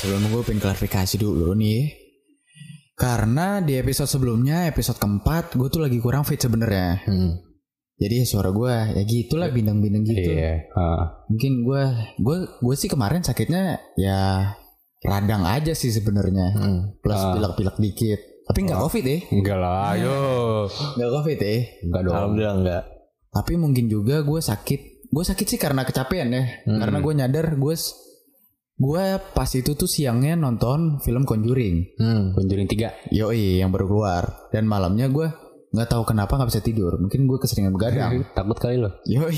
gue Nah, pengen klarifikasi dulu nih. Karena di episode sebelumnya, episode keempat, gue tuh lagi kurang fit sebenarnya. Hmm. Jadi suara gue ya gitulah bintang-bintang gitu. Iya. Ah. Mungkin gue gue gue sih kemarin sakitnya ya radang aja sih sebenarnya. Hmm. Plus Ah. pilek-pilek dikit. Tapi nggak covid ya. Enggak lah, yo. Nggak covid ya. Enggak dong. Alhamdulillah enggak. Tapi mungkin juga gue sakit. Gue sakit sih karena kecapean ya. Hmm. Karena gue nyadar gue s- gue pas itu tuh siangnya nonton film Conjuring. Hmm, Conjuring 3. Yoi yang baru keluar dan malamnya gue nggak tahu kenapa nggak bisa tidur mungkin gue keseringan begadang Takut kali lo. Yoi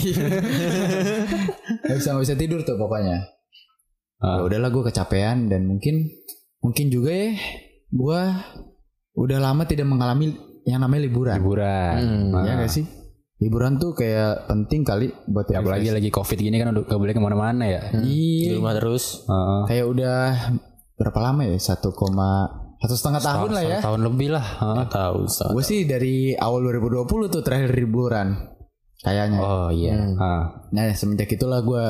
nggak bisa nggak bisa tidur tuh pokoknya Ah. ya udahlah gue kecapean dan mungkin mungkin juga ya gue udah lama tidak mengalami yang namanya liburan Liburan. Hmm, Ah. ya Ah. nggak sih liburan tuh kayak penting kali buat Ya, apalagi refresh. lagi covid gini kan udah gak boleh kemana-mana ya. Di iya rumah terus. Ah. kayak udah berapa lama ya satu koma satu setengah tahun lah ya Tahun lebih lah. Ah. Nggak tahu. Ustaz. Gue sih dari awal 2020 tuh terakhir liburan kayaknya. Oh iya. Ah. Nah semenjak itulah gue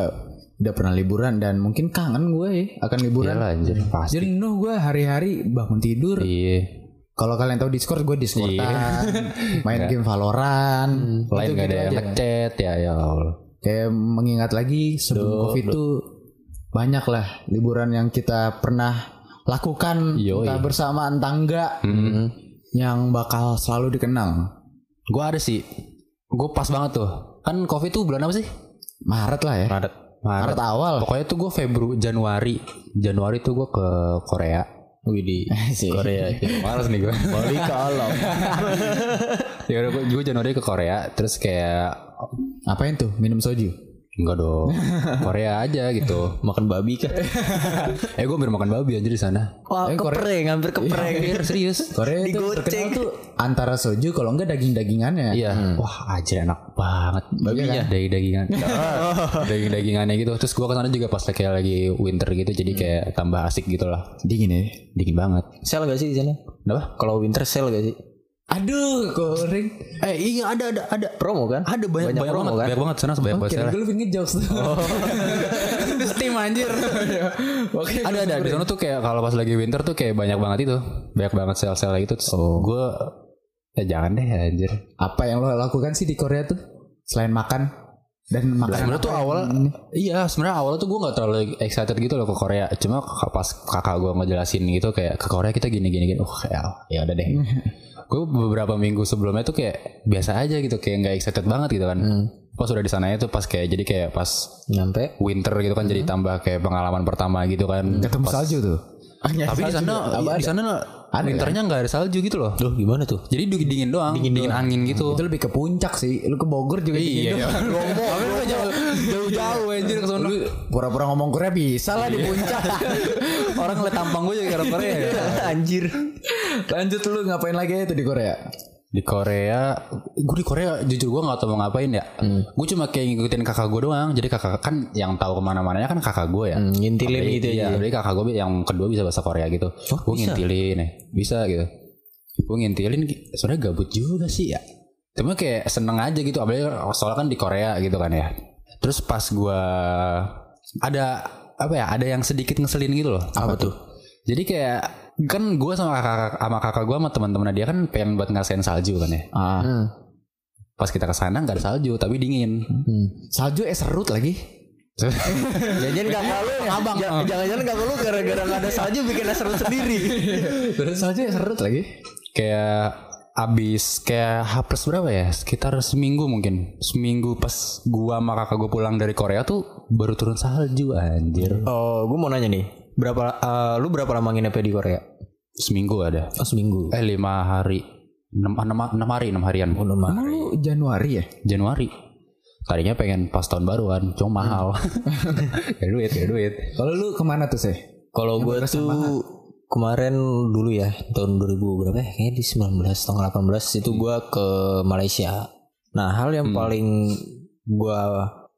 udah pernah liburan dan mungkin kangen gue ya akan liburan. Iyalah, anjir pasti. Jenuh gue hari-hari bangun tidur. Iya. Kalau kalian tahu Discord gue Discordan, main game Valorant, Iya. Hmm, Lain gitu-gitu gak ada Hmm. gitu yang aja. kan? ngechat ya ya Allah. Kayak mengingat lagi sebelum covid itu banyak lah liburan yang kita pernah lakukan Yoi. entah bersama entah enggak Hmm. Mm. yang bakal selalu dikenang. Gue ada sih. Gue pas banget tuh. Kan covid tuh bulan apa sih? Maret lah ya. Maret. Maret Maret. Oh. awal. Pokoknya tuh gue Februari Januari. Januari tuh gue ke Korea. Widih. sih. Korea. Males nih gue. Balik ke alam. ya udah gue gue Januari ke Korea terus kayak Apain tuh minum soju? enggak dong Korea aja gitu Makan babi kah? eh gue hampir makan babi aja di sana Eh, Iya, Wah, kepreng, hampir kepreng. serius Korea itu Digoceng. terkenal tuh antara soju kalau enggak daging-dagingannya. kan? iya Hmm. wah aja enak banget ya. Babinya. daging dagingan daging dagingannya Iya. gitu terus gue kesana juga pas kayak lagi winter gitu jadi kayak tambah asik gitu lah Dingin ya. dingin banget Sel gak sih di sana? kenapa Kalau winter sale gak sih? Aduh, goreng. eh iya ada ada ada Promo kan? ada banyak banyak, banget promo, kan? banyak banget sana banyak banget Kira gue lebih ngejokes tuh. Oh. Steam anjir. Oke. ada ada di sana tuh kayak kalau pas lagi winter tuh kayak banyak banget itu banyak banget sel-sel gitu terus gue ya jangan deh anjir Apa yang lo lakukan sih di Korea tuh? Selain makan dan makan. sebenarnya tuh awal iya sebenarnya awal tuh gue nggak terlalu excited gitu loh ke Korea cuma k- pas kakak gue ngejelasin gitu kayak ke Korea kita gini gini gini uh kayak ya udah deh gue beberapa minggu sebelumnya tuh kayak biasa aja gitu kayak nggak excited banget gitu kan pas udah di sananya tuh pas kayak jadi kayak pas Nyampe. winter gitu kan jadi tambah kayak pengalaman pertama gitu kan Hmm. Ketemu salju tuh. Ah, iya. tapi di sana iya, di sana winternya nggak ada salju gitu loh Duh, gimana tuh? jadi du- dingin doang dingin, angin gitu itu lebih ke puncak sih. Lu ke Bogor juga dingin iya. doang. Tapi lu jauh- jauh-jauh anjir ke sana. Pura-pura ngomong Korea bisa lah di Iya. puncak. Orang ngeliat tampang gue jadi karena Korea ya. Anjir. Lanjut lu ngapain lagi itu di Korea? Di Korea, gue di Korea jujur gue gak tau mau ngapain ya. Gue cuma kayak ngikutin kakak gue doang. Jadi kakak kan yang tahu kemana-mananya kan kakak gue ya. Hmm, ngintilin Jadi- gitu iya, ya. Jadi kakak gue yang kedua bisa bahasa Korea gitu. gue ngintilin ya. Bisa gitu. Gue ngintilin sebenarnya gabut juga sih ya. Cuma kayak seneng aja gitu. Apalagi soalnya kan di Korea gitu kan ya. Terus pas gue ada apa ya ada yang sedikit ngeselin gitu loh. Apa, tuh? Jadi kayak kan gue sama kakak sama kakak gue sama teman-teman dia kan pengen buat ngerasain salju kan ya. Ah. Pas kita ke sana nggak ada salju tapi dingin. hmm. Salju es serut lagi. Jangan-jangan gak kalau abang. ya? Jangan-jangan gak kalau gara-gara gak ada salju bikin seru sendiri. Terus salju es serut lagi. kayak abis kayak H plus berapa ya sekitar seminggu mungkin seminggu pas gua sama kakak gua pulang dari Korea tuh baru turun salju anjir Oh, gue mau nanya nih. Berapa eh, lu berapa lama nginepnya di Korea? seminggu ada Oh, seminggu. eh lima hari enam, enam, enam hari enam harian Oh, Emang lu Januari ya? Januari tadinya pengen pas tahun baruan cuma mahal ya duit ya duit Kalau lu kemana tuh sih? Kalau gue tuh kemarin dulu ya tahun 2000 berapa ya? Kayaknya di 19 tahun 18 itu gue ke Malaysia. Nah hal yang paling gue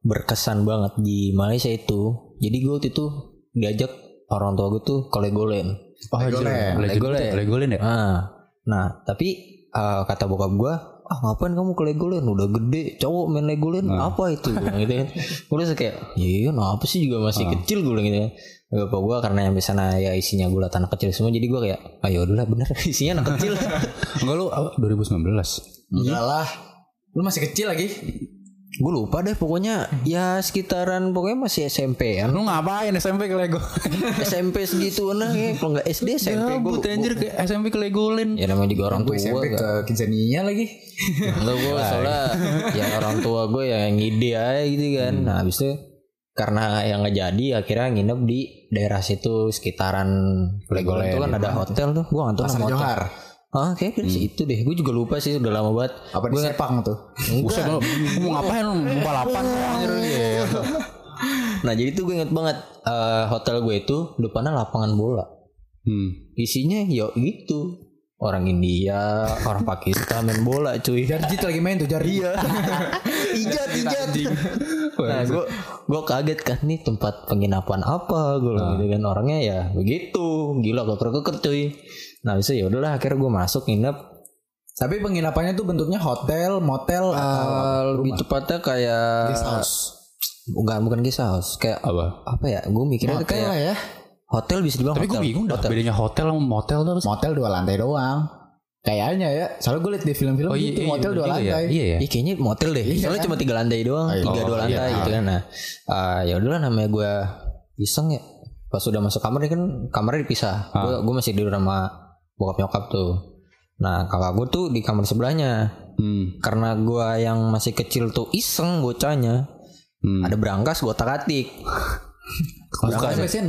berkesan banget di Malaysia itu, jadi gue waktu itu diajak orang tua gue tuh ke Legoland. oh, Legoland. Legoland Legoland ya Ah, nah tapi eh, kata bokap gue ah ngapain kamu ke Legoland udah gede cowok main Legoland Ah. apa itu gue bilang gitu kan gue rasa kayak ya iya nah apa sih juga Ah. masih kecil gue bilang gitu kan gak apa gue karena yang di sana ya isinya gue anak kecil semua jadi gue kayak ayo udah bener isinya anak kecil Iya. Enggak lu apa, 2019. Enggak lah. Lu masih kecil lagi. gue lupa deh pokoknya ya sekitaran pokoknya masih SMP ya Lu ngapain SMP ke Lego? SMP segitu nah ya kalau nggak SD SMP gue Gabut anjir ke SMP ke Legoland. ya namanya juga orang Gue tua SMP gak- ke Kinsenia lagi. Enggak gue soalnya ya orang tua gue ya yang ngide aja gitu kan. Hmm. Nah habis itu karena yang nggak jadi akhirnya nginep di daerah situ sekitaran Legoland itu kan ada hotel tuh. Gue nggak tahu Ah. Pasar nama hotel. Johar. Hmm. Ah kayak dari situ deh. Gue juga lupa sih udah lama banget. Apa di Sepang tuh? Buset lu mau ngapain lu mau balapan anjir lu. Iya. Nah jadi tuh gue inget banget eh, hotel gue itu depannya lapangan bola. Hmm. Isinya ya gitu orang India, orang Pakistan main bola cuy. Jarjit lagi main tuh Jarjit. Iya. ijat ijat nah gitu? gue gue kaget kan nih tempat penginapan apa Nah. gue bilang gitu kan orangnya ya begitu gila keker keker cuy nah bisa ya udahlah akhirnya gue masuk nginep Tapi penginapannya tuh bentuknya hotel, motel atau Eh, lebih tepatnya kayak guest house. bukan bukan guest house kayak Apa? apa ya gue mikirnya tuh Hotel kayak lah ya. hotel bisa dibilang Tapi gue hotel bingung dah bedanya hotel sama motel tuh. Motel dua lantai doang. Kayaknya ya. Soalnya gue liat di film-film gitu motel bener dua juga ya. lantai. Iya ya. Oh, Ih, kayaknya motel deh. Soalnya cuma tiga lantai doang, tiga dua lantai iya. gitu kan. Nah, ah, ya udahlah namanya gue iseng ya. Pas udah masuk kamar dia kan kamarnya dipisah. Ah. Gue gue masih tidur sama bokap nyokap tuh. Nah kakak gue tuh di kamar sebelahnya. Hmm. Karena gue yang masih kecil tuh iseng bocahnya. Hmm. Ada berangkas gue tak atik. Bukan biasanya 000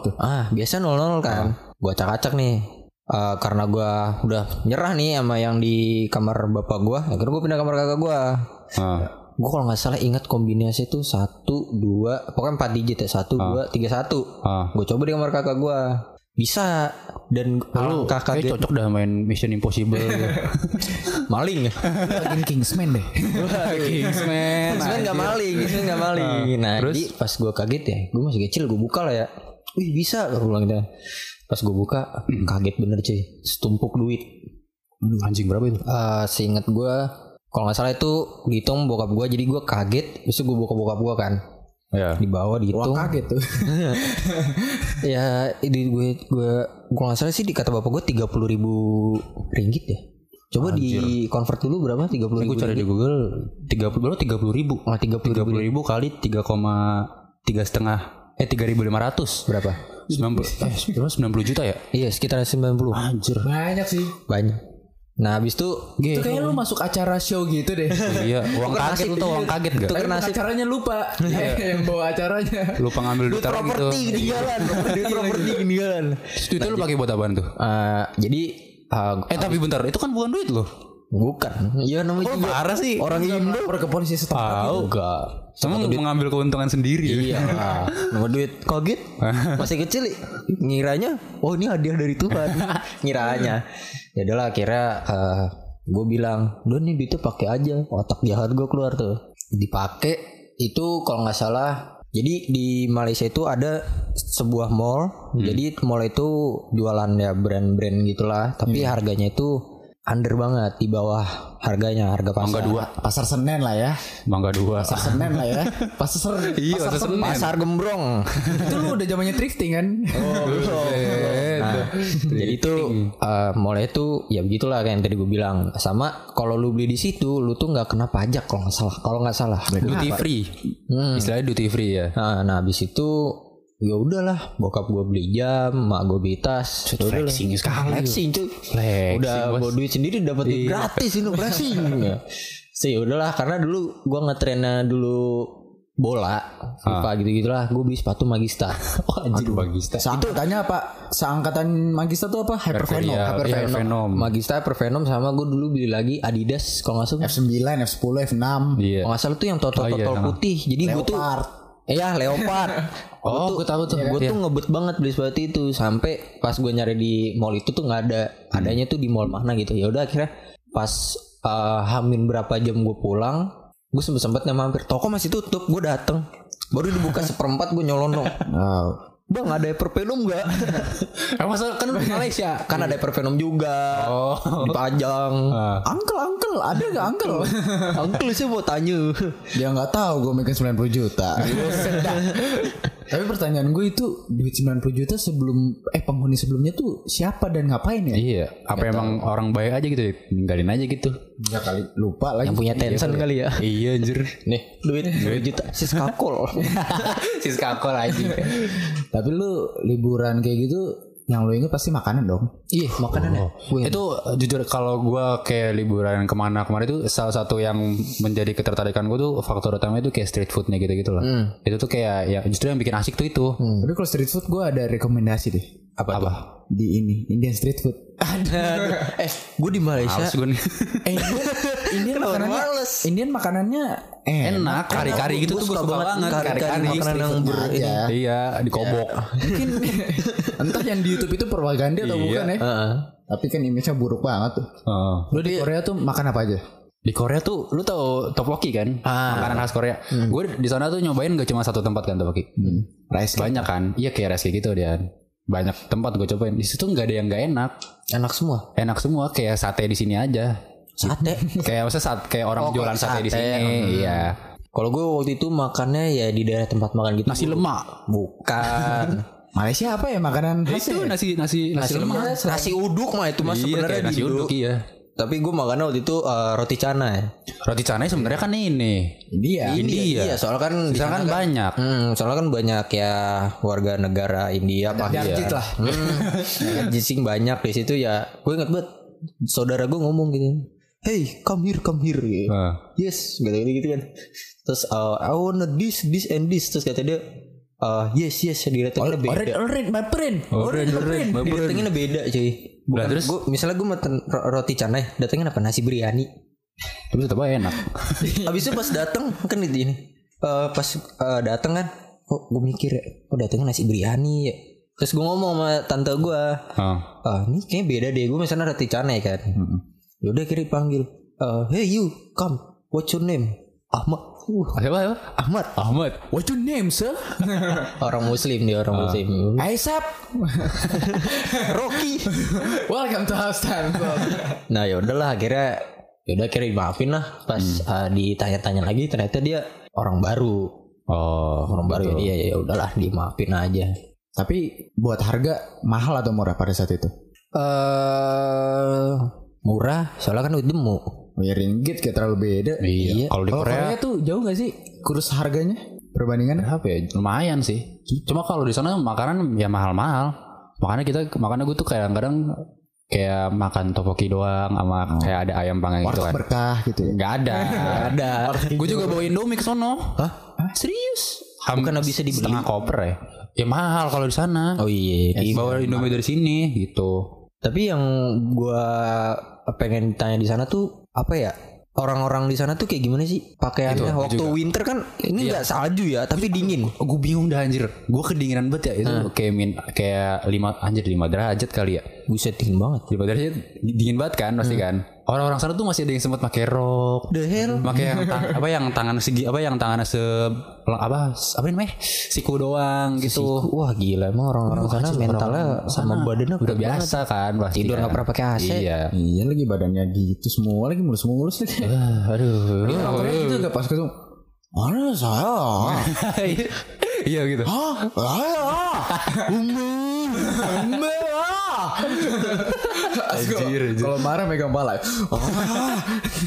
tuh. Ah biasa 00 kan. Gue acak acak nih. Ah, karena gue udah nyerah nih sama yang di kamar bapak gue. Akhirnya gue pindah kamar kakak gue. Ah. gue kalau nggak salah ingat kombinasi itu satu dua pokoknya empat digit ya satu dua tiga satu Ah. gue coba di kamar kakak gue bisa dan Lu alangkah kakak kaget cocok dah main Mission Impossible gitu. maling Bagian Kingsman deh. Kingsman. sebenarnya nggak maling sebenarnya nggak maling nah jadi pas gue kaget ya gue masih kecil gue buka lah ya wih bisa gue bilang gitu pas gue buka kaget bener cuy setumpuk duit Anjing berapa itu? Eh, seingat gue kalau nggak salah itu dihitung bokap gue jadi gue kaget besok gue buka bokap gue kan Ya. Wah dibawa dihitung kaget tuh. ya di gue gue gue nggak salah sih di kata bapak gue tiga puluh ribu ringgit ya coba di convert dulu berapa tiga puluh Gue ribu Eh, cari di Google 30 berapa 30 ribu. oh tiga puluh tiga puluh ribu kali tiga koma tiga setengah eh tiga ribu lima ratus berapa sembilan puluh eh sembilan puluh juta ya iya sekitar sembilan puluh anjir Banyak sih. banyak nah habis itu Itu kayaknya lu masuk acara show gitu deh. iya uang kaget lu tuh uang kaget gak Tapi acaranya lupa yang bawa acaranya. lupa ngambil duit orang gitu ketinggalan properti kan. ketinggalan Terus duitnya lu pakai buat apaan tuh Eh, jadi eh, eh tapi bentar itu kan bukan duit lo bukan iya namanya juga Oh, parah sih orang Oh, Indo Iya, Lapor ke polisi setempat. tahu enggak sama mengambil keuntungan sendiri Iya lah. Nomor duit kaget masih kecil ngiranya oh ini hadiah dari Tuhan ngiranya ya udahlah akhirnya gue bilang udah nih duitnya pakai aja otak jahat gue keluar tuh dipakai itu kalau nggak salah jadi di Malaysia itu ada sebuah mall jadi mall itu jualan ya brand-brand gitulah tapi harganya itu under banget di bawah harganya harga pasar mangga dua Pasar Senen lah ya. mangga dua Pasar Senen lah ya. Pasar Senen. iya pasar pasar Senen. pasar gembrong Itu lu udah zamannya thrifting kan? Oh, iya. Nah, jadi itu eh, mulai itu ya begitulah kayak yang tadi gue bilang sama kalau lu beli di situ lu tuh nggak kena pajak kalau nggak salah kalau nggak salah Hmm. duty free Hmm. istilahnya duty free ya nah, nah habis itu ya udahlah bokap gue beli jam mak gue beli tas ya udahlah. flexing sekali. flexing cuy Flexing, udah bos. Iya. bawa duit sendiri dapat duit gratis ini flexing sih udahlah karena dulu gue ngetrennya dulu bola FIFA Ah. gitu gitulah gue beli sepatu Magista oh, aduh bagista Seangkatannya apa? Seangkatan Magista tuh apa? Hypervenom. Iya, iya, Hypervenom. Venom. Magista Pervenom sama gue dulu beli lagi Adidas kalau nggak F9, salah F10, F6. Iya. kalau nggak salah tuh yang totol Oh, iya, totol sama. putih jadi gue tuh Leopard. Iya leopard. Oh, gue tahu tuh. Gue tuh ngebet banget beli sepatu itu sampai pas gue nyari di mall itu tuh nggak ada. Hmm. Adanya tuh di mall mana gitu. Ya udah akhirnya pas eh, hamin berapa jam gue pulang, gue sempet sempetnya mampir toko masih tutup. Gue dateng baru dibuka seperempat gue nyolong dong. Oh. Bang ada perpenom nggak? Eh, masa kan Malaysia. kan ada perpenom juga. Oh. Dipajang. Angkel angkel uncle ada nggak uncle Uncle saya mau tanya. Iya, dia nggak tahu gue megang 90 juta Buset dah. tapi pertanyaan gue itu duit 90 juta sebelum eh penghuni sebelumnya tuh siapa dan ngapain ya Iya, apa emang orang baik aja gitu, tinggalin aja gitu. ya kali lupa lagi Yang punya Tencent kali ya. iya anjir. Nih, duit 2 juta. Siska Kol. Siska kol aja. tapi lu liburan kayak gitu yang lu inget pasti makanan dong Oh. Iya, makanan ya. itu eh, jujur kalau gua kayak liburan kemana kemarin itu salah satu yang menjadi ketertarikan gua tuh faktor utama itu kayak street foodnya gitu gitu loh. Itu tuh kayak ya justru yang bikin asik tuh itu. tapi kalau street food gue ada rekomendasi deh Apa? Apa? di ini Indian street food eh, gue di Malaysia. Males gua nih. eh, Indian, Indian Kenapa makanannya males? Indian makanannya eh, enak, kari-kari gitu tuh gua suka banget. Kari-kari makanan yang ber ini. aja. Iya, dikobok. mungkin entah yang di YouTube itu propaganda Iya. atau bukan ya Heeh. tapi kan image-nya buruk banget tuh Heeh. lu di Korea tuh makan apa aja Di Korea tuh lu tahu tteokbokki kan? Makanan khas Korea. Gue di sana tuh nyobain gak cuma satu tempat kan tteokbokki. rice cake. Banyak kan? Iya kayak reski gitu dia. Banyak tempat gue cobain. Di situ nggak ada yang nggak enak. Enak semua. Enak semua kayak sate di sini aja. Sate. Kayak maksudnya sat, kayak orang jualan sate, di sini. Iya. Kalau gue waktu itu makannya ya di daerah tempat makan gitu. Nasi lemak. Bukan. Malaysia apa ya makanan khasnya Itu nasi nasi nasi, nasi lemak. lemak. Nasi uduk mah itu mah Iya, sebenarnya gitu. kayak nasi di uduk iya. Tapi gue makannya waktu itu eh, roti canai. Roti canai sebenarnya kan ini. India India. Iya, soalnya kan Di sana kan banyak. Hmm, soalnya kan banyak ya warga negara India ya. Darjit lah Hmm, jising banyak di situ ya. Gue inget banget saudara gue ngomong gitu. Hey, come here, come here. Gitu. Heeh. Yes, gitu gitu, gitu kan. Terus uh, I want this, this and this. Terus kata dia, uh, yes, yes, didatengin beda. Orange, orange, my friend Orange, orange. Didatengin beda cuy. Bukan, Lah, terus? gua, misalnya gue makan ro- roti canai, datengin apa nasi biryani. Tapi tetap aja enak. Habis itu pas dateng kan itu ini. Eh, pas eh, dateng kan kok gue mikir ya, oh datengnya nasi biryani ya. Terus gue ngomong sama tante gue, Heeh. ah ini kayaknya beda deh. Gue misalnya roti canai kan. Yaudah kiri panggil, eh, hey you, come, what's your name? Ahmad. Uh, Siapa, siapa? Ahmad. Ahmad. What's your name sir? Orang Muslim dia orang Muslim. Aisap Eh, Rocky. Welcome to Hostan nah ya udahlah akhirnya ya udah akhirnya dimaafin lah pas eh, ditanya-tanya lagi ternyata dia orang baru Oh, orang baru ya dia ya udahlah dimaafin aja Tapi buat harga mahal atau murah pada saat itu? eh murah soalnya kan duit demu Oh ya ringgit kayak terlalu beda Iya. Kalau di Kalau Korea Korea tuh jauh gak sih kurus harganya? Perbandingan apa ya lumayan sih cuma kalau di sana makanan ya mahal-mahal makanya kita makanya gue tuh kadang-kadang kayak makan topoki doang sama kayak ada ayam panggang gitu kan berkah gitu ya nggak ada ada gue juga bawa indomie ke sono serius Ham- Bukannya bisa dibeli? setengah koper ya ya mahal kalau di sana Ya, oh iya iya. bawa indomie dari sini gitu tapi yang gua pengen tanya di sana tuh apa ya orang-orang di sana tuh kayak gimana sih pakaiannya Itu, gua waktu juga. winter kan ini nggak salju ya tapi dingin gue bingung dah anjir gue kedinginan banget ya itu kayak min kayak lima anjir lima derajat kali ya buset dingin banget lima derajat dingin banget kan pasti Hmm. kan orang-orang sana tuh masih ada yang sempat pakai rok the hell Pakai yang tang- apa yang tangan segi apa yang tangannya se apa apa namanya siku doang gitu. wah gila emang orang-orang sana mentalnya sama badannya Udah biasa kan pasti Ah, tidur kan. nggak pernah pakai AC Iya. Iya lagi badannya gitu semua lagi mulus-mulus lagi Ah, aduh. Iya. Kalau gitu gak pas ketemu Mana saya? iya gitu. Hah? Saya? Umur? Umur? ah. Anjir, anjir. Kalau marah megang pala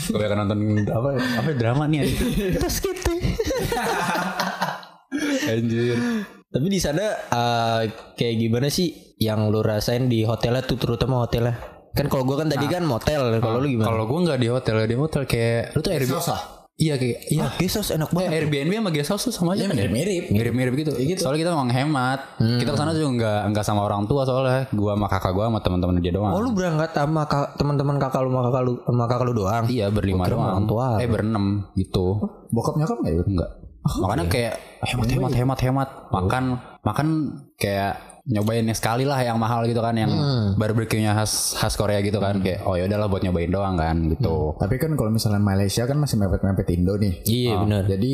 Kebanyakan nonton apa apa drama nih anjir. terus gitu anjir. tapi di sana eh, kayak gimana sih yang lu rasain di hotelnya tuh terutama hotelnya kan kalau gua kan tadi kan motel kalau lu gimana Kalau gua nggak di hotel, di hotel kayak lu tuh Airbnb. Iya kayak iya. ah gesos enak Eh, banget Airbnb sama guest house tuh sama aja Iya, kan ya? mirip-mirip. Mirip-mirip gitu. Soalnya kita emang hemat. Hmm. Kita kesana juga nggak nggak sama orang tua soalnya. Gua sama kakak gua sama teman-teman dia doang. oh lu berangkat sama ka- teman-teman kakak lu sama kakak lu sama kakak lu doang Iya berlima doang. orang tua. Oh. Eh berenam gitu. Bokap nyokap gak ikut? Enggak. Ah, Makanya iya? kayak Eh, hemat hemat hemat hemat. Makan makan kayak nyobain yang sekali lah yang mahal gitu kan yang Hmm. barbecue-nya khas khas Korea gitu kan kayak oh ya udahlah buat nyobain doang kan gitu. Tapi kan kalau misalnya Malaysia kan masih mepet-mepet Indo nih iya bener Jadi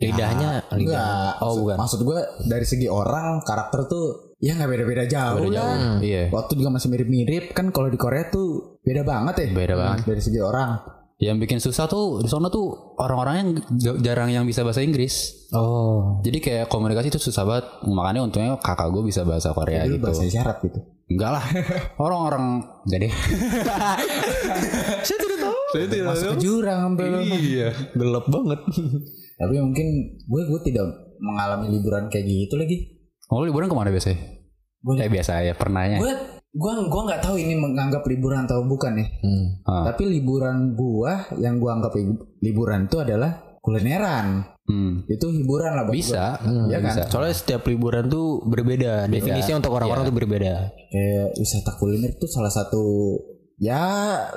lidahnya lidah Enggak oh bukan Maksud gue dari segi orang karakter tuh Ya gak beda-beda jauh lah Hmm. Iya. Waktu juga masih mirip-mirip Kan kalau di Korea tuh beda banget ya Beda banget. Dari segi orang Yang bikin susah tuh di sana tuh orang-orang yang ga- jarang yang bisa bahasa Inggris. Oh. Jadi kayak komunikasi itu susah banget. Makanya untungnya kakak gue bisa bahasa Korea Dulu gitu. bahasa isyarat gitu. Enggak lah. Orang-orang enggak deh. Saya tidak tahu. Saya tidak Masuk ke jurang sampai lu. Iya. Gelap banget. Tapi mungkin gue gue tidak mengalami liburan kayak gitu lagi. Oh, liburan kemana biasanya? Boleh. Eh, biasa ya, pernahnya. Gue gue gue nggak tahu ini menganggap liburan atau bukan ya. Hmm. Ah. Tapi liburan gua yang gua anggap li- liburan itu adalah kulineran. Hmm. Itu hiburan lah buat gua. Bisa. Iya kan? bisa. Soalnya setiap liburan tuh berbeda. Definisinya untuk orang-orang tuh berbeda. Kayak wisata kuliner itu salah satu ya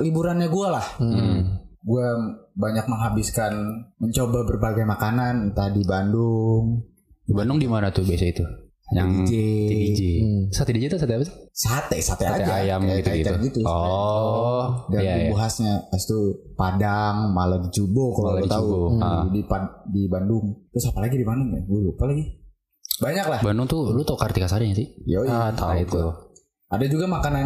liburannya gua lah. Hmm. Gua banyak menghabiskan mencoba berbagai makanan entah di Bandung, Di Bandung di mana tuh biasa itu? Yang DJ, TDJ. Sate DJ itu sate apa sih? sate, sate, Sate aja, ayam Hmm. kayak gitu-gitu. kaitan gitu. Oh, dan iya, bumbu iya. khasnya Habis itu Padang malah di Cubo kalau Malah lo di tahu Cubo, Hmm, ah. di Pan- di Bandung terus apa lagi di Bandung ya gue lupa lagi banyak lah Bandung tuh lu tau Kartika Sari nggak sih? Ah, Yoi. Nah, tahu itu. ada juga makanan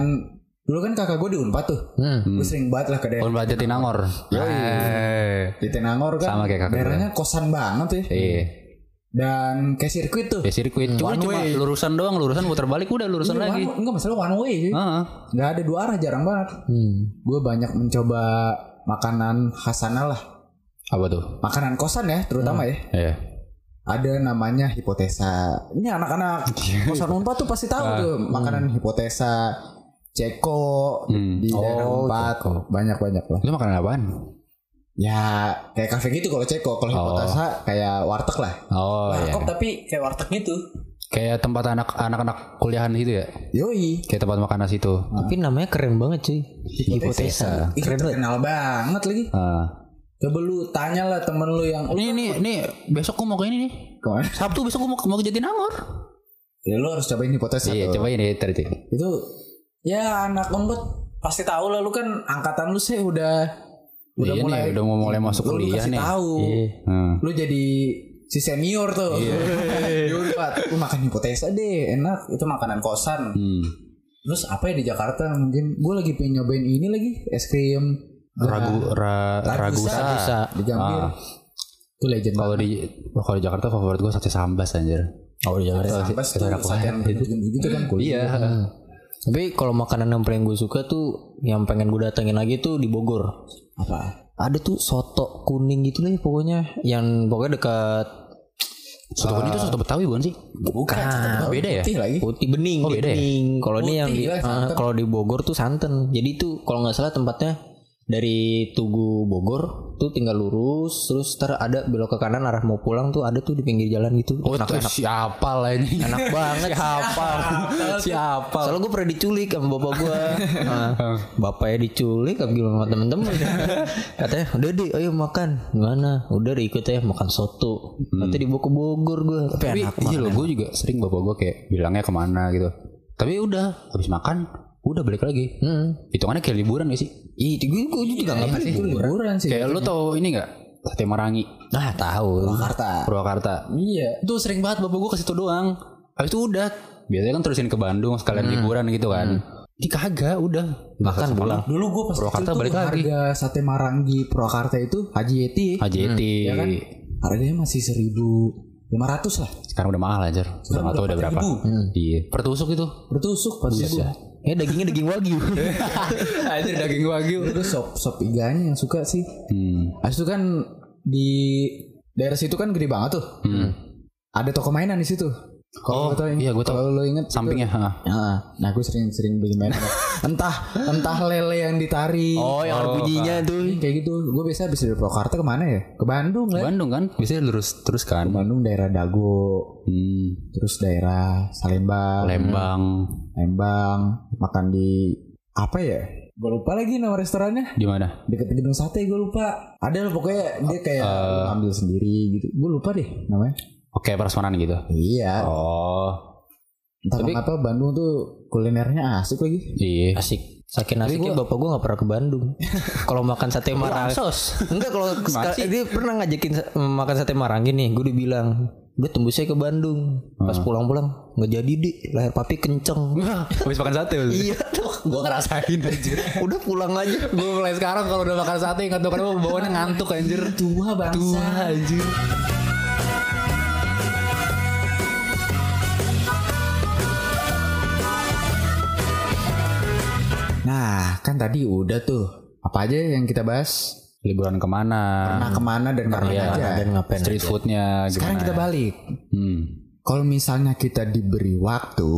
dulu kan kakak gue di Unpad tuh Hmm. gue sering banget lah ke daerah Pohon Batu Jatinangor. Eh, di Tenangor kan Sama kayak kakak gue. daerahnya kosan banget ya Iya. dan kayak sirkuit tuh Ya sirkuit. Iya, Cuma cuma lurusan doang, lurusan putar balik udah Ini lurusan lagi. one- enggak masalah one way sih. Heeh. nggak ada dua arah jarang banget Hmm. gue banyak mencoba makanan khas sana lah Apa tuh? makanan kosan ya terutama ya Iya. ada namanya hipotesa. Ini anak-anak Iya. kosan unpad tuh pasti tahu tuh makanan hipotesa, ceko Hmm. di daerah unpad banyak banyak lah. Itu makanan apaan? Ya kayak kafe gitu kalau ceko, kalau hipotesa kayak warteg lah. Oh iya. Warkop tapi kayak warteg gitu. Kayak tempat anak anak-anak kuliahan gitu ya. Yoi, Kayak tempat makanan situ. Tapi namanya keren banget cuy. hipotesa. Ih, terkenal banget lagi. Ah. Coba lu tanya lah temen lu yang Ini nih nih besok gua mau ke ini nih. Kemana? Sabtu besok gua mau mau ke Jatinangor. Ya lu harus cobain hipotesa Iya, tuh. cobain deh tadi. Itu ya anak unpad pasti tahu lah lu kan angkatan lu sih udah udah Iya mulai nih, udah mau mulai masuk lu, lu kuliah kasih nih. tahu Hmm. lu jadi si senior tuh Iya. Di Unpad. lu makan hipotesa deh enak itu makanan kosan Hmm. terus apa ya di Jakarta mungkin gue lagi pengen nyobain ini lagi es krim Ragu ra, Ragusa. ragusa. Ragusa. di Gambir Ah. itu legend Kalau di kalau di Jakarta favorit gue sate sambas anjir. Oh iya. banget Sambas tuh sajian gitu kan kulit Iya. Tapi kalau makanan yang paling gue suka tuh yang pengen gue datengin lagi tuh di Bogor. apa Ada tuh soto kuning gitu deh pokoknya yang pokoknya dekat Soto kuning itu soto Betawi bukan sih? Bukan. beda ya? putih lagi Putih Bening. Oh, beda ya? iya, Bening. Kalau ini yang di Putih lah, ah, santan. kalau di Bogor tuh santan. Jadi itu kalau nggak salah tempatnya dari Tugu Bogor tuh tinggal lurus terus ter ada belok ke kanan arah mau pulang tuh ada tuh di pinggir jalan gitu. Oh, itu siapa lah ini? enak banget siapa siapa soalnya gue pernah diculik sama bapak gue nah, bapaknya diculik apa gimana sama temen-temen katanya udah deh ayo makan gimana udah deh ikut aja makan soto nanti dibawa ke Bogor gue tapi, Tapi enak iya loh, gue juga sering bapak gue kayak bilangnya kemana gitu. Tapi udah habis makan, udah balik lagi. hmm. Hitungannya kayak liburan gak sih? Iya, Ih, gue gue juga nggak ngerti itu liburan sih Kayak lu tau ini gak? Sate Marangi, nah tahu Jakarta Purwakarta. iya Itu sering banget bapak gue ke situ doang. Habis itu udah. Biasanya kan terusin ke Bandung sekalian liburan gitu kan. Ini kagak, udah. makan pulang dulu gue pas Purwakarta kecil tuh balik lagi. harga sate marangi Purwakarta itu Haji Yeti AJT. harganya masih seribu lima ratus lah Sekarang udah mahal aja. Udah nggak tahu udah berapa. ribu. Iya. Pertusuk itu. bertusuk pasti gue ya dagingnya daging wagyu Anjir daging wagyu. gue Iya, sop sop iganya yang suka sih Hmm. Habis itu kan di daerah situ kan gede banget tuh. Ada toko mainan di situ. Hmm. Oh, Kalau lo tau ini- iya, gua tau. Kalau lo inget Sampingnya. ha. Nah, nah gue sering-sering beli mainan. entah entah lele yang ditarik. oh yang ada bunyinya tuh Kayak gitu. Gue biasa habis dari Purwakarta kemana ya? Ke Bandung lah. Bandung kan biasanya lurus terus kan. Bandung daerah Dago, Hmm. terus daerah Salemba, Lembang. Lembang, makan di apa ya? Gue lupa lagi nama restorannya. Di mana? Deket gedung sate gue lupa. Ada lah pokoknya dia Eh. kayak lo ambil sendiri gitu. Gue lupa deh namanya. Oke, prasmanan gitu. Iya. Oh. Entah kenapa Bandung tuh kulinernya asik lagi. Iya. asik Saking asiknya bapak gue gak pernah ke Bandung Kalau makan sate marangi Sos. Enggak kalau sekali- dia pernah ngajakin sa- makan sate marangi nih, gue udah bilang Gue tembusnya ke Bandung. Pas pulang-pulang nggak jadi di leher papi kenceng. Habis makan sate iya tuh. Gue ngerasain anjir Udah pulang aja. Gue mulai sekarang kalau udah makan sate Ingat tuh Karena bawaannya ngantuk anjir Tua bangsa. Tua anjir Nah, kan tadi udah tuh. Apa aja yang kita bahas? Liburan kemana Pernah kemana dan kapan Iya, aja. dan ngapain? Street foodnya Sekarang gimana kita balik. hmm. Kalau misalnya kita diberi waktu,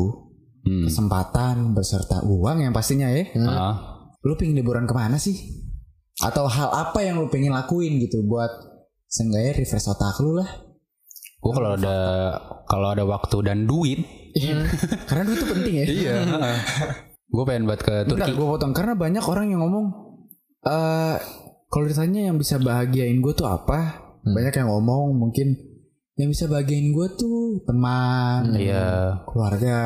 Hmm. kesempatan beserta uang yang pastinya ya. Ah. Lu pengen liburan kemana sih? Atau hal apa yang lu pengen lakuin gitu buat seenggaknya refresh otak lu lah. Gue kalau ada kalau ada waktu dan duit, Karena duit itu penting ya. iya. gue pengen buat ke Turki. gue potong karena banyak orang yang ngomong eh kalau ditanya yang bisa bahagiain gue tuh apa? Banyak yang ngomong mungkin yang bisa bahagiain gue tuh teman, Iya. keluarga.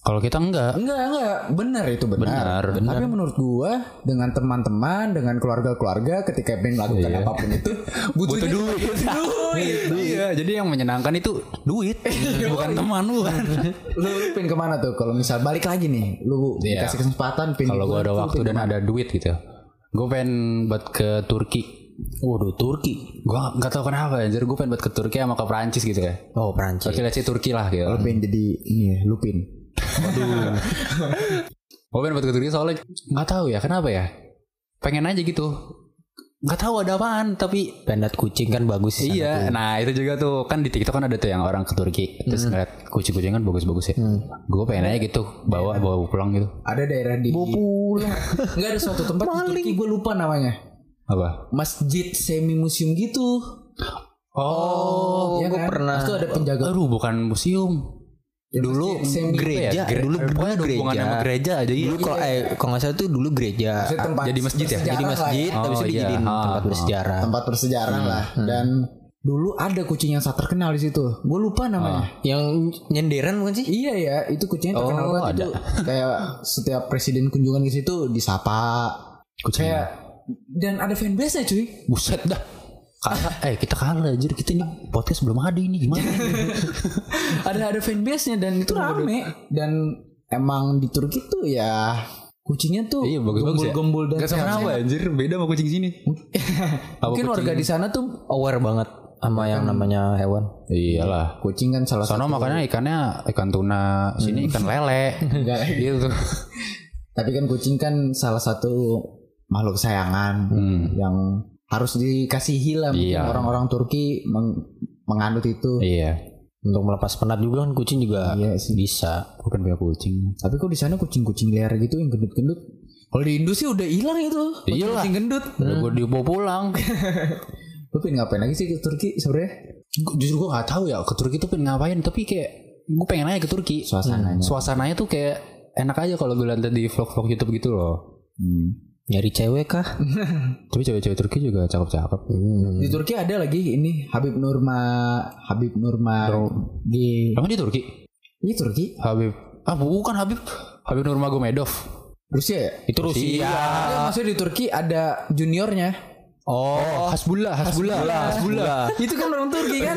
Kalau kita enggak, Enggak, enggak, benar itu Benar, benar. benar. Tapi menurut gua dengan teman-teman, dengan keluarga-keluarga ketika pengen melakukan apapun itu butuh butuhnya duit. iya, jadi yang menyenangkan itu duit, bukan teman lu kan. lu, lu pengen kemana tuh kalau misal balik lagi nih lu Iya. dikasih kesempatan pengen Kalau gue ada lu waktu pengen dan ada duit gitu, gue pengen buat ke Turki. Waduh Turki. Gue nggak tahu kenapa, anjir gue pengen buat ke Turki sama ke Perancis gitu ya. Oh Prancis. Oke, let's say Turki lah gitu. lu pengen jadi ini ya, lupin Gue pengen buat ke Turki soalnya nggak tahu ya kenapa ya. Pengen aja gitu. Nggak tahu ada apaan tapi Pendat kucing kan bagus sih. Iya, nah itu juga tuh kan di TikTok kan ada tuh yang orang ke Turki terus ngeliat kucing-kucing kan bagus-bagus ya. Gue pengen aja gitu bawa bawa pulang gitu. ada daerah di nggak ada suatu tempat di Turki gue lupa namanya Apa? masjid semi museum gitu Oh, ya Iya, gua kan? pernah. Terus tuh ada penjaga aduh bukan museum. Ya, dulu masjid semi gereja, dulu Gitu pokoknya ada gereja. hubungannya sama gereja aja iya. Dulu kalau eh kalau nggak salah tuh dulu gereja. Maksudnya tempat jadi masjid ya? bersejarah lah Jadi ya. ya. masjid, tapi Oh, itu iya. dijadiin Ah, tempat ah. bersejarah. tempat Hmm. bersejarah lah dan dulu ada kucing yang sangat terkenal di situ gue lupa namanya Yang nyenderan bukan sih? Iya ya, itu kucingnya terkenal Oh, banget ada. itu. Kayak setiap presiden kunjungan ke situ disapa. Kayak dan ada fanbase-nya cuy. Buset dah. Kalah, eh kita kalah anjir kita ini podcast belum ada ini gimana? ada ada fanbase-nya dan itu rame dan emang di Turki tuh ya kucingnya tuh Iya, bagus-bagus ya. gembul-gembul dan Gak tau kenapa anjir beda sama kucing sini. mungkin warga di sana tuh Aware banget sama yang Hmm. namanya hewan. Iyalah. kucing kan salah Sono makanya ikannya ikan tuna, sini ikan lele. Enggak. gitu. Tapi kan kucing kan salah satu makhluk kesayangan yang harus dikasihi lah mungkin Hmm. Iya. orang-orang Turki meng- menganut itu. Iya. Untuk melepas penat juga kan kucing juga Iya sih. bisa. Bukan kan punya kucing. Tapi kok di sana kucing-kucing liar gitu yang gendut-gendut? Kalau di Indo sih udah hilang itu. Iyalah. Kucing gendut. Udah gue dibawa pulang. Lu pengen ngapain lagi sih ke Turki sebenarnya? Gua- Justru gue nggak tahu ya ke Turki tuh pengen ngapain. Tapi kayak gue pengen aja ke Turki. Hmm. Suasananya. Suasananya tuh kayak enak aja kalau gue lihat di vlog-vlog YouTube gitu loh. Nyari cewek kah? Tapi cewek-cewek Turki juga cakep-cakep. Di Turki ada lagi ini Habib Nurma Habib Nurma di Emang di Turki? ini Turki Habib. Ah bukan Habib. Habib Nurmagomedov. Rusia ya? Ah. Itu Rusia. Ada, Iya, maksudnya di Turki ada juniornya. Oh, Hasbullah, Hasbullah, Hasbullah. itu kan orang Turki kan?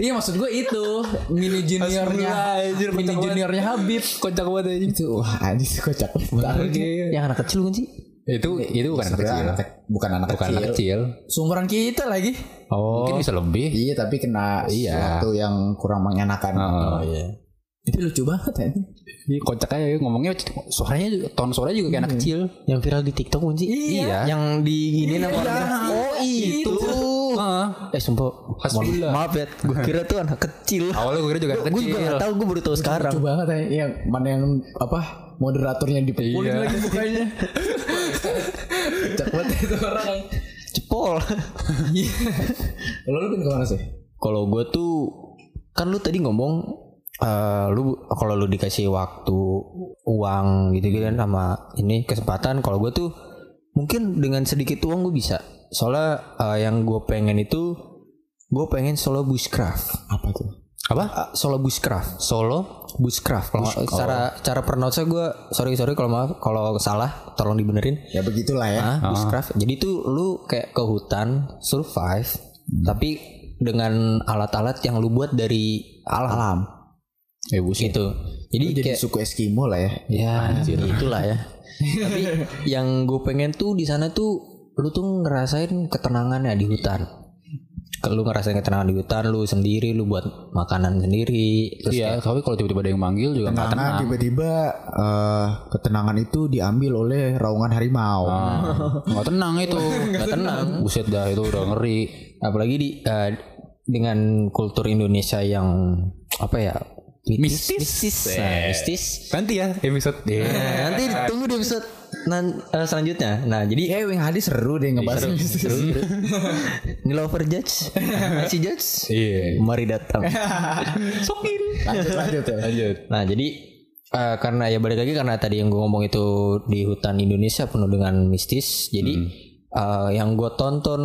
iya maksud gue itu mini juniornya mini juniornya Habib kocak banget itu wah anjir kocak banget Iya. Yang anak kecil kan sih? Itu itu bukan anak kecil. Sebenarnya anak- bukan anak Bukan anak kecil. kecil. Seumuran kita lagi. Oh. Mungkin bisa lebih. Iya tapi kena Iya. sesuatu yang kurang mengenakan. Oh, iya. Itu lucu banget ya. Ini kocak aja ya. ngomongnya suaranya juga- tone suaranya juga kayak anak kecil. Yang viral di TikTok kan sih? Iya. Yang di gini nama orang. Oh itu. Eh sumpah. Hasbullah. Maaf ya, gue kira tuh anak kecil. Awalnya gue kira juga anak Gue juga kecil. gak tau, gue baru tau sekarang. Lucu banget ya. Yang mana yang apa moderatornya dipukulin Iya. lagi mukanya. Kocak banget itu orang. Cepol. Kalau lu pengen kemana sih? Kalau gue tuh kan lu tadi ngomong eh, lu kalau lu dikasih waktu uang gitu-gitu kan sama ini kesempatan kalau gue tuh mungkin dengan sedikit uang gue bisa soalnya eh, yang gue pengen itu gue pengen solo bushcraft Apa tuh? Apa? Ah, solo bushcraft Solo? bushcraft kalau nggak- cara cara pronounce gue sorry sorry kalau maaf kalau salah tolong dibenerin Ya begitulah ya. Hmm. Ah, bushcraft. Jadi tuh lu kayak ke hutan survive, tapi dengan alat-alat yang lu buat dari alam Eh, buset. gitu. Jadi Lu jadi kayak suku Eskimo lah ya. ya itulah ya. Tapi yang gue pengen tuh di sana tuh lu tuh ngerasain ketenangan ya di hutan. Ke- Lu ngerasain ketenangan di hutan, lu sendiri, lu buat makanan sendiri. Terus Iya, tapi kalau tiba-tiba ada yang manggil juga nggak Karena tenang. tiba-tiba eh, ketenangan itu diambil oleh raungan harimau. Ah, Nggak tenang itu. Nggak tenang. Buset dah itu udah ngeri. apalagi di eh, dengan kultur Indonesia yang apa ya Mistis. mistis, Nah, mistis. Nanti ya episode Nah, nanti tunggu di episode nan- eh, selanjutnya nah Iya, jadi Wing Hadi seru deh ngebahas Iya, ini. ini lover judge masih judge Iya. mari datang lanjut lanjut ya. Lanjut. nah jadi eh, karena ya balik lagi karena tadi yang gue ngomong itu di hutan Indonesia penuh dengan mistis jadi Hmm. eh, yang gue tonton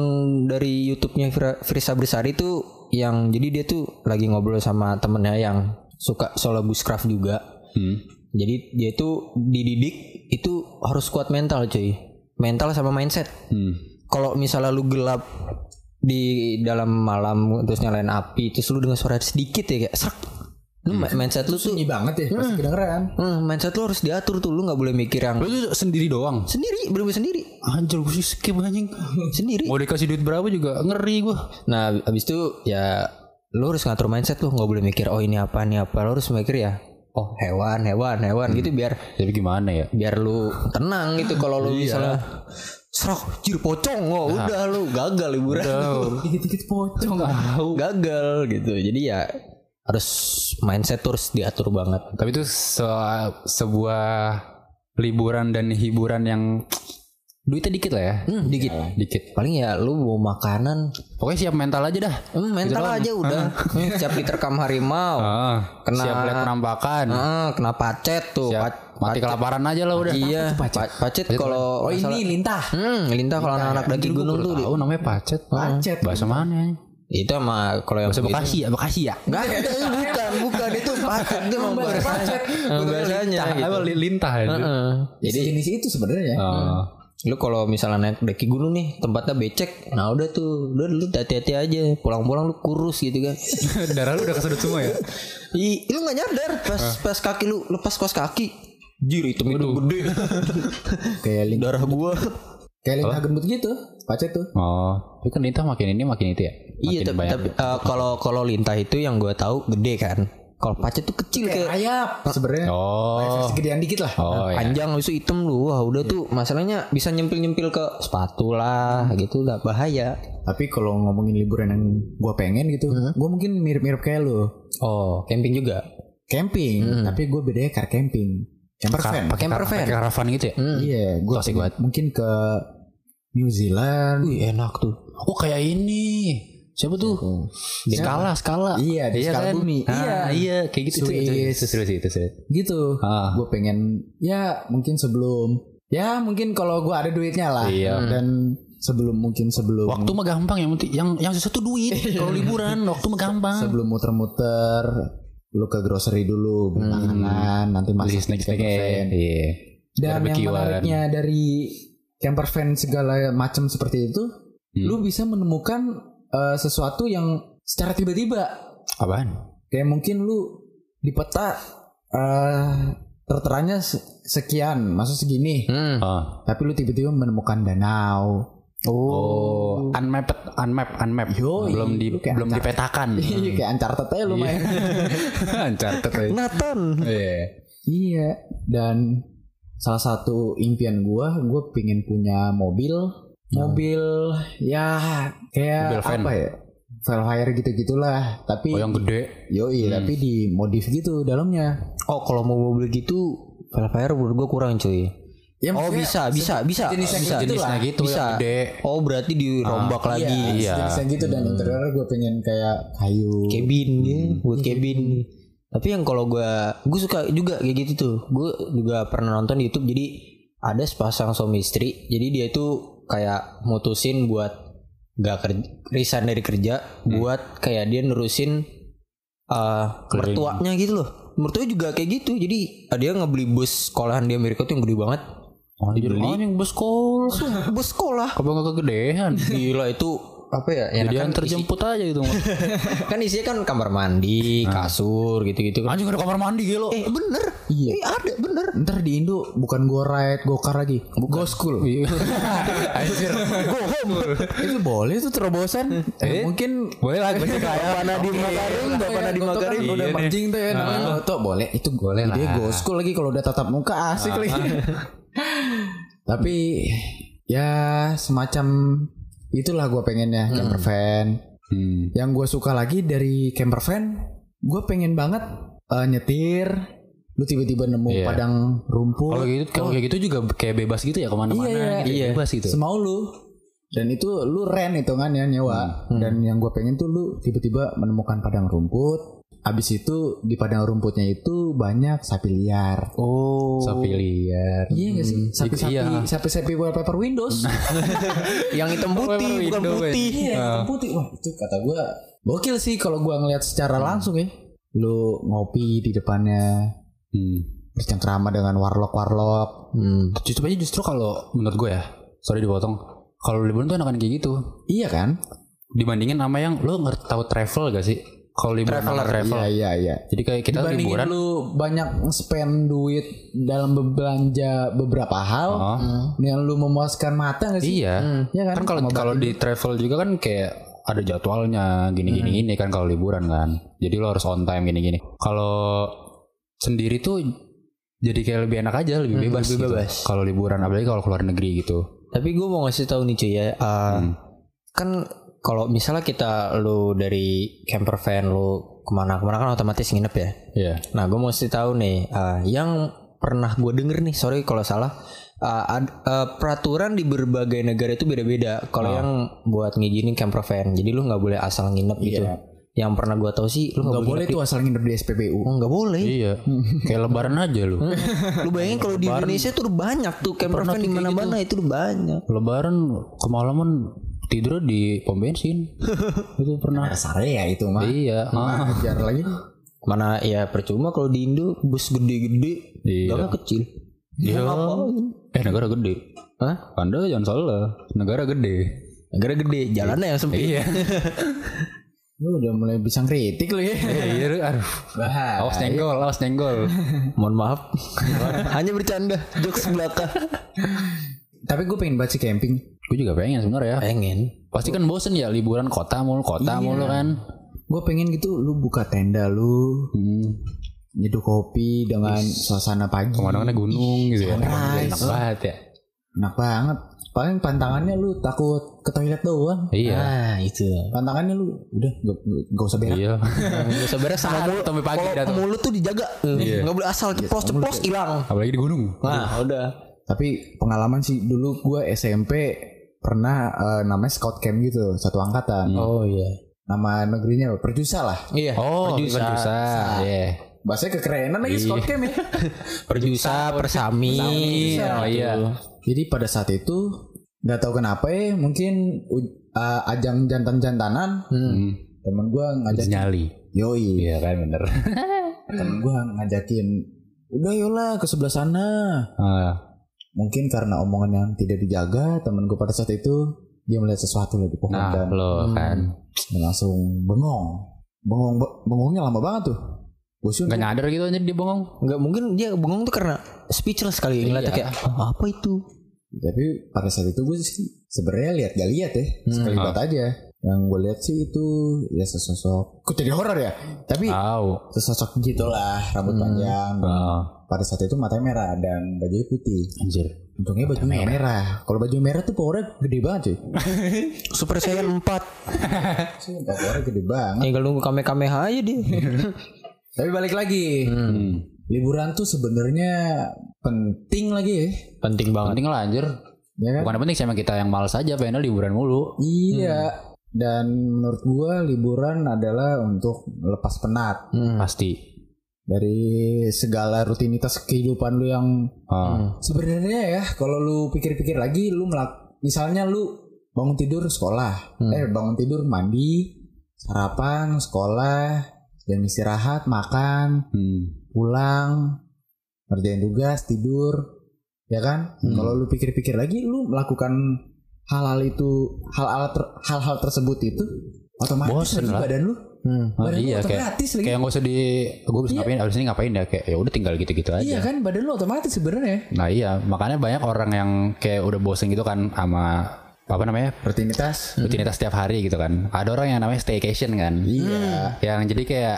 dari YouTube-nya Fira- Firsa Bersari itu yang jadi dia tuh lagi ngobrol sama temennya yang suka solo bushcraft juga Hmm. Jadi dia itu dididik itu harus kuat mental cuy. Mental sama mindset. Hmm. Kalau misalnya lu gelap di dalam malam terus nyalain api terus lu dengan suara sedikit ya kayak serak. Lu Hmm. ma- mindset lu tuh Sunyi banget ya, pasti kedengeran. hmm, mindset lu harus diatur tuh lu nggak boleh mikir yang Lu tuh sendiri doang. sendiri bener sendiri Anjir gue sih skip anjing. sendiri. Mau dikasih duit berapa juga ngeri gue. Nah abis itu ya lu harus ngatur mindset lu nggak boleh mikir oh ini apa nih apa lu harus mikir ya oh hewan hewan hewan gitu biar Tapi gimana ya? biar lu tenang gitu kalau lu misalnya serok jir pocong wah udah lu gagal liburan lu. Dikit-dikit pocong. gagal gitu jadi ya harus mindset tuh harus diatur banget Tapi itu se- sebuah liburan dan hiburan yang duitnya dikit lah ya. hmm, dikit Dikit. paling ya lu mau makanan Pokoknya siap mental aja dah. hmm, mental aja udah Hmm, siap diterkam harimau Ah, Oh. Kena- siap lihat penampakan. Ah, kena pacet tuh siap Pac- mati kelaparan aja lah udah. iya pa- pacet kalau Oh ini lintah. hmm, lintah kalau anak-anak daki gunung tuh Tahu namanya pacet. Pacet. Bahasa mana? itu sama kalau yang Bahasa begitu- Bekasi ya, Bekasi ya. Enggak, itu bukan, bukan itu pacet itu emang bahasanya. Emang bahasanya gitu. Apa li- lintah ya? Heeh. Jadi Jadi jenis itu sebenarnya. Ah. lu kalau misalnya naik daki gunung nih tempatnya becek, nah udah tuh, udah lu hati-hati aja, pulang-pulang lu kurus gitu kan. Darah lu udah kesudut semua ya? Ih, lu nggak nyadar pas pas kaki lu lepas kos kaki, jir hitam itu gede, Kayak lintah, darah gua. kayak lintah gendut gitu. Pacet tuh. Oh, tapi kan lintah makin ini makin itu ya? Iya, Makin tapi banyak. tapi, eh, kalau kalau lintah itu yang gua tahu gede kan. Kalau pacet tuh kecil kayak Ayap sebenarnya. Oh, Segedean dikit lah. oh Iya. ya. panjang habis itu hitam lu wah udah tuh masalahnya bisa nyempil nyempil ke sepatu lah gitu udah bahaya Tapi kalau ngomongin liburan yang gue pengen gitu, Hmm. gue mungkin mirip-mirip kayak lu. oh camping juga Camping, tapi gue bedanya car camping. Camper van. Hmm. Pakai Camper van. pakai karavan gitu ya? Iya, gue Toxic banget. mungkin ke New Zealand. wih enak tuh Oh kayak ini. Siapa tuh? Skala, skala. Iya, di skala bumi. Iya, iya, kayak gitu. Itu- itu- Swiss. Itu serius itu serius. Gitu. Ah. Gue pengen ya mungkin sebelum ya mungkin kalau gue ada duitnya lah. Iya. Dan sebelum mungkin sebelum Waktu mah gampang yang penting yang yang susah tuh duit. Kalau liburan waktu mah gampang. sebelum muter-muter lu ke grocery dulu beli makanan nanti Hmm. Beli masih snack-snacknya. Iya. dan yang Barbekyuan. menariknya dari camper van segala macam seperti itu Hmm. lu bisa menemukan eh, sesuatu yang secara tiba-tiba Apaan? kayak mungkin lu di peta eh, terteranya se- sekian maksud segini hmm. Oh. tapi lu tiba-tiba menemukan danau Oh, unmapped, unmapped, unmapped. Yoi, belum di, lu kayak belum dipetakan. Iya, kayak ancar teteh lu main Uncharted aja. Nathan Iya. Iya, dan salah satu impian gua, gua pingin punya mobil, mobil ya Mobil kayak van. apa ya, Velfire gitu-gitulah, tapi Oh, yang gede. yoi, tapi dimodif gitu dalamnya. oh kalau mau mobil gitu Velfire menurut gue kurang cuy Ya, oh maksudnya bisa bisa bisa jenisnya bisa gitu Jenisnya gitu yang bisa gede. Ah, oh berarti dirombak lagi Iya. sejenisnya gitu dan interiornya gue pengen kayak kayu. cabin ya buat cabin tapi yang kalau gua gue suka juga kayak gitu tuh gue juga pernah nonton di YouTube jadi ada sepasang suami istri jadi dia itu kayak mutusin buat gak kerja resign dari kerja buat kayak dia nerusin eh mertuanya gitu loh mertuanya juga kayak gitu jadi eh, dia ngebeli bus sekolahan di Amerika tuh yang gede banget Oh, dibeli. Oh, yang bus kol. bus sekolah Kok nggak kegedean? gila itu apa ya yang Jadi kan antar isi- jemput aja gitu. kan isinya kan kamar mandi kasur gitu-gitu kan Anjing ada kamar mandi gelo. Ah. eh bener iya ada bener Ntar di Indo bukan go ride, go car lagi. Go school. Go home. itu boleh tuh terobosan. Eh, mungkin Boleh lah Iya, gue kayak Bapak di Makarim, Bapak Nadi kan? Makarim Iya, udah mancing tuh ya namanya Goto boleh itu boleh lah. Ah. Dia go school lagi kalau udah tatap muka asik lagi. Tapi ya semacam itulah gue pengennya camper van. Hmm. Yang gue suka lagi dari camper van, gue pengen banget eh, nyetir. Lu tiba-tiba nemu Iya. padang rumput. Kalau gitu kalau kayak gitu juga kayak bebas gitu ya kemana mana Oh. Iya, gitu. iya. Bebas gitu. Semau lu. Dan itu lu rent hitungannya nyewa. Dan yang gue pengen tuh lu tiba-tiba menemukan padang rumput. Abis itu di padang rumputnya itu banyak sapi liar. oh Sapi liar. Iya gak sih? Sapi-sapi, Iya. sapi-sapi wallpaper Windows. yang hitam putih bukan Window, putih iya, hitam putih. Wah, itu kata gue gokil sih kalau gue ngeliat secara langsung ya. Lu ngopi di depannya, Hmm. bercengkrama dengan warlock-warlock. hmm. Justru aja justru kalau menurut gue ya, sorry dipotong. Kalau liburan tuh enakan kayak gitu. Iya kan? Dibandingin sama yang lo ngerti tahu travel gak sih? Kalau liburan sama Iya, travel. iya, iya. Jadi kayak kita Dibandingin liburan lu banyak spend duit dalam belanja beberapa hal, Hmm. Oh. yang lu memuaskan mata gak sih? Iya. Hmm. Iya kan? kan kalau kalau di travel juga kan kayak ada jadwalnya gini-gini Hmm. gini kan kalau liburan kan. Jadi lo harus on time gini-gini. Kalau sendiri tuh jadi kayak lebih enak aja, lebih bebas, Hmm, lebih gitu. bebas. Kalau liburan apalagi kalau keluar negeri gitu. tapi gue mau ngasih tahu nih cuy ya eh, kan kalau misalnya kita lu dari camper van lu kemana-kemana kan otomatis nginep ya Iya. Nah, gue mesti tahu nih, eh, yang pernah gue denger nih, sorry kalau salah, eh, ad- eh, peraturan di berbagai negara itu beda-beda. Kalau yang buat ngizinin camper van, jadi lu nggak boleh asal nginep gitu. Yang pernah gue tahu sih, lu nggak nggak boleh tuh asal nginep di SPBU. Oh, nggak boleh. Iya. kayak lebaran aja lo. Hmm. lu bayangin kalau di Indonesia tuh udah banyak tuh camper van di mana-mana itu udah banyak. lebaran kemalaman tidur di pom bensin. itu pernah. Dasarnya ya itu mah. Iya. ah. Ajar lagi. Mana ya percuma kalau di Indo bus gede-gede, Iya. gak kecil. Iya. Eh negara gede. Hah? Anda jangan salah. Negara gede. Negara gede, jalannya yang sempit. Iya. Lu udah mulai bisa kritik Gitu lu ya. Iya, aduh. Ah, Bahas. Awas iya. nenggol, awas nenggol. Mohon maaf. Hanya bercanda, jokes belaka. Tapi gue pengen banget sih camping. Gue juga pengen sebenarnya ya. Pengen. Pasti kan bosen ya liburan kota mulu, kota mulu kan. Gue pengen gitu lu buka tenda lu, Hmm. nyeduh kopi dengan suasana pagi. Kemana-mana gunung gitu ya. sunrise. Enak banget ya. Enak banget. Paling pantangannya lu takut ke toilet doang. Iya. Ah itu. Pantangannya lu udah gak, gak usah berak. Iya. Gak usah beres sama mulut. sampai pagi Kalau datang. mulut tuh dijaga. Iya. Nggak boleh asal ceplos ceplos hilang. Apalagi di gunung. Nah udah. Tapi pengalaman sih dulu gue SMP pernah eh, namanya scout camp gitu satu Hmm. angkatan. Oh iya. Nama negerinya apa? Perjusa lah. Iya. Oh, perjusa. Perjusa. Iya. Bahasanya kekerenan lagi scout camp ya. Perjusa, persami. Iya, Nah, oh iya. gitu. Jadi pada saat itu nggak tahu kenapa ya mungkin u- eh, ajang jantan-jantanan Hmm. temen gue ngajakin Nyali. yoi Iya kan bener. temen gue ngajakin udah yola ke sebelah sana Ah, mungkin karena omongan yang tidak dijaga temen gue pada saat itu dia melihat sesuatu lah di pohon nah, dan lo kan. Dan langsung bengong bengong bengongnya lama banget tuh gue sih Gak nyadar gitu anjir dia bengong. Nggak mungkin dia bengong tuh karena speechless kali ngeliatnya kayak "Ah, apa itu? tapi pada saat itu gue sih sebenarnya lihat gak lihat ya sekali Ah. lihat aja yang gue lihat sih itu ya sesosok kok jadi horor ya tapi Au. sesosok gitulah rambut panjang Ah, pada saat itu matanya merah dan bajunya putih Anjir. untungnya baju merah, kalau baju merah tuh powernya gede banget cuy Super Saiyan 4 Sih, powernya gede banget Tinggal nunggu kame kame aja dia. tapi balik lagi Hmm. liburan tuh sebenarnya penting lagi ya Penting banget. Penting lah anjir. ya kan? Bukan yang penting sama kita yang males aja pengennya liburan mulu. Iya. Dan menurut gua liburan adalah untuk lepas penat Hmm. Hmm. Pasti. dari segala rutinitas kehidupan lu yang Ah. sebenarnya ya kalau lu pikir-pikir lagi lu melak misalnya lu bangun tidur sekolah, eh bangun tidur mandi, sarapan, sekolah, dan istirahat, makan, Hmm. pulang, Hmm. ngerjain tugas, tidur, ya kan? Kalau lu pikir-pikir lagi lu melakukan hal-hal itu hal-hal ter- hal-hal tersebut itu otomatis Bosen lagi lah. badan lu Hmm. Oh, badan iya lu kayak otomatis lagi kayak nggak usah di gue bisa ngapain abis ini ngapain ya kayak ya udah tinggal gitu-gitu aja. iya kan badan lu otomatis sebenarnya Nah iya makanya banyak orang yang kayak udah bosen gitu kan sama apa namanya rutinitas rutinitas setiap hari gitu kan. Ada orang yang namanya staycation kan. Iya. Yang jadi kayak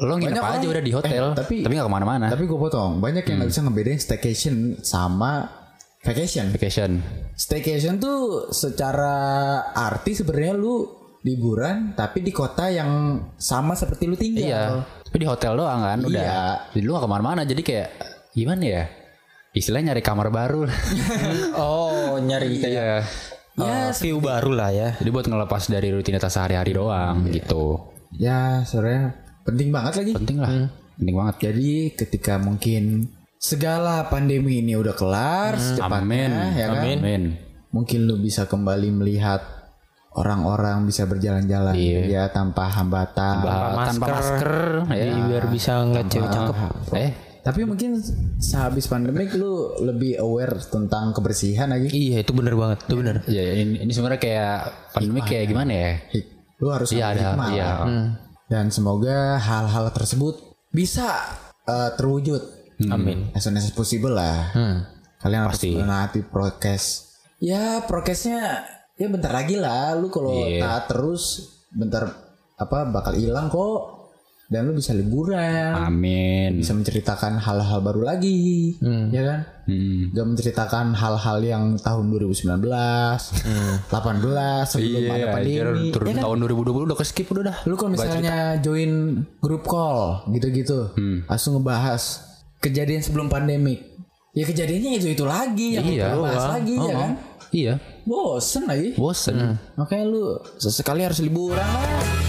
lo nginep Banyak aja orang- udah di hotel eh, tapi- tapi nggak kemana-mana. tapi gue potong banyak yang nggak bisa ngebedain staycation sama vacation Vacation. staycation tuh secara arti sebenarnya lu liburan tapi di kota yang sama seperti lu tinggal Iya. Tapi di hotel doang kan udah. Iya. Jadi lu gak kemana-mana jadi kayak gimana ya? Istilahnya nyari kamar baru. lah. Oh nyari kayak Iya. eh, view baru lah ya. Jadi buat ngelepas dari rutinitas sehari-hari doang Iya. gitu. ya sebenarnya penting banget lagi Penting lah. Hmm. Penting banget. Jadi ketika mungkin segala pandemi ini udah Hmm, kelar secepatnya Amin. ya kan? Amin. Mungkin lu bisa kembali melihat orang-orang bisa berjalan-jalan ya tanpa hambatan. Bah- Iya. tanpa masker, ya. biar bisa ngeliat cewek cakep. Eh, Tapi mungkin sehabis pandemik lu lebih aware tentang kebersihan lagi. Iya itu bener banget, itu bener. ya ini, ini sebenarnya kayak pandemi kayak gimana ya? Hik- Lu harus ambil Iya ada, hikmah. iya. Dan semoga hal-hal tersebut bisa eh, terwujud. Amin. As soon as possible lah. Kalian Hmm. Pasti. harus menaati prokes. Ya prokesnya ya bentar lagi lah. Lu kalau Iya. taat terus bentar apa bakal hilang kok. Dan lu bisa liburan, Amin. bisa menceritakan hal-hal baru lagi, ya kan? Hmm. Gak menceritakan hal-hal yang tahun 2019, 18 sebelum ada Hmm. Iya, anjir, pandemi. Ya kan? turun tahun 2020 udah keskip udah dah. Lu kalau misalnya join grup call gitu-gitu, langsung ngebahas kejadian sebelum pandemik. Ya kejadiannya itu itu lagi yang Iya. kita bahas lagi ya kan. Iya, Bosen lagi. bosen. Makanya lu sesekali harus liburan lah.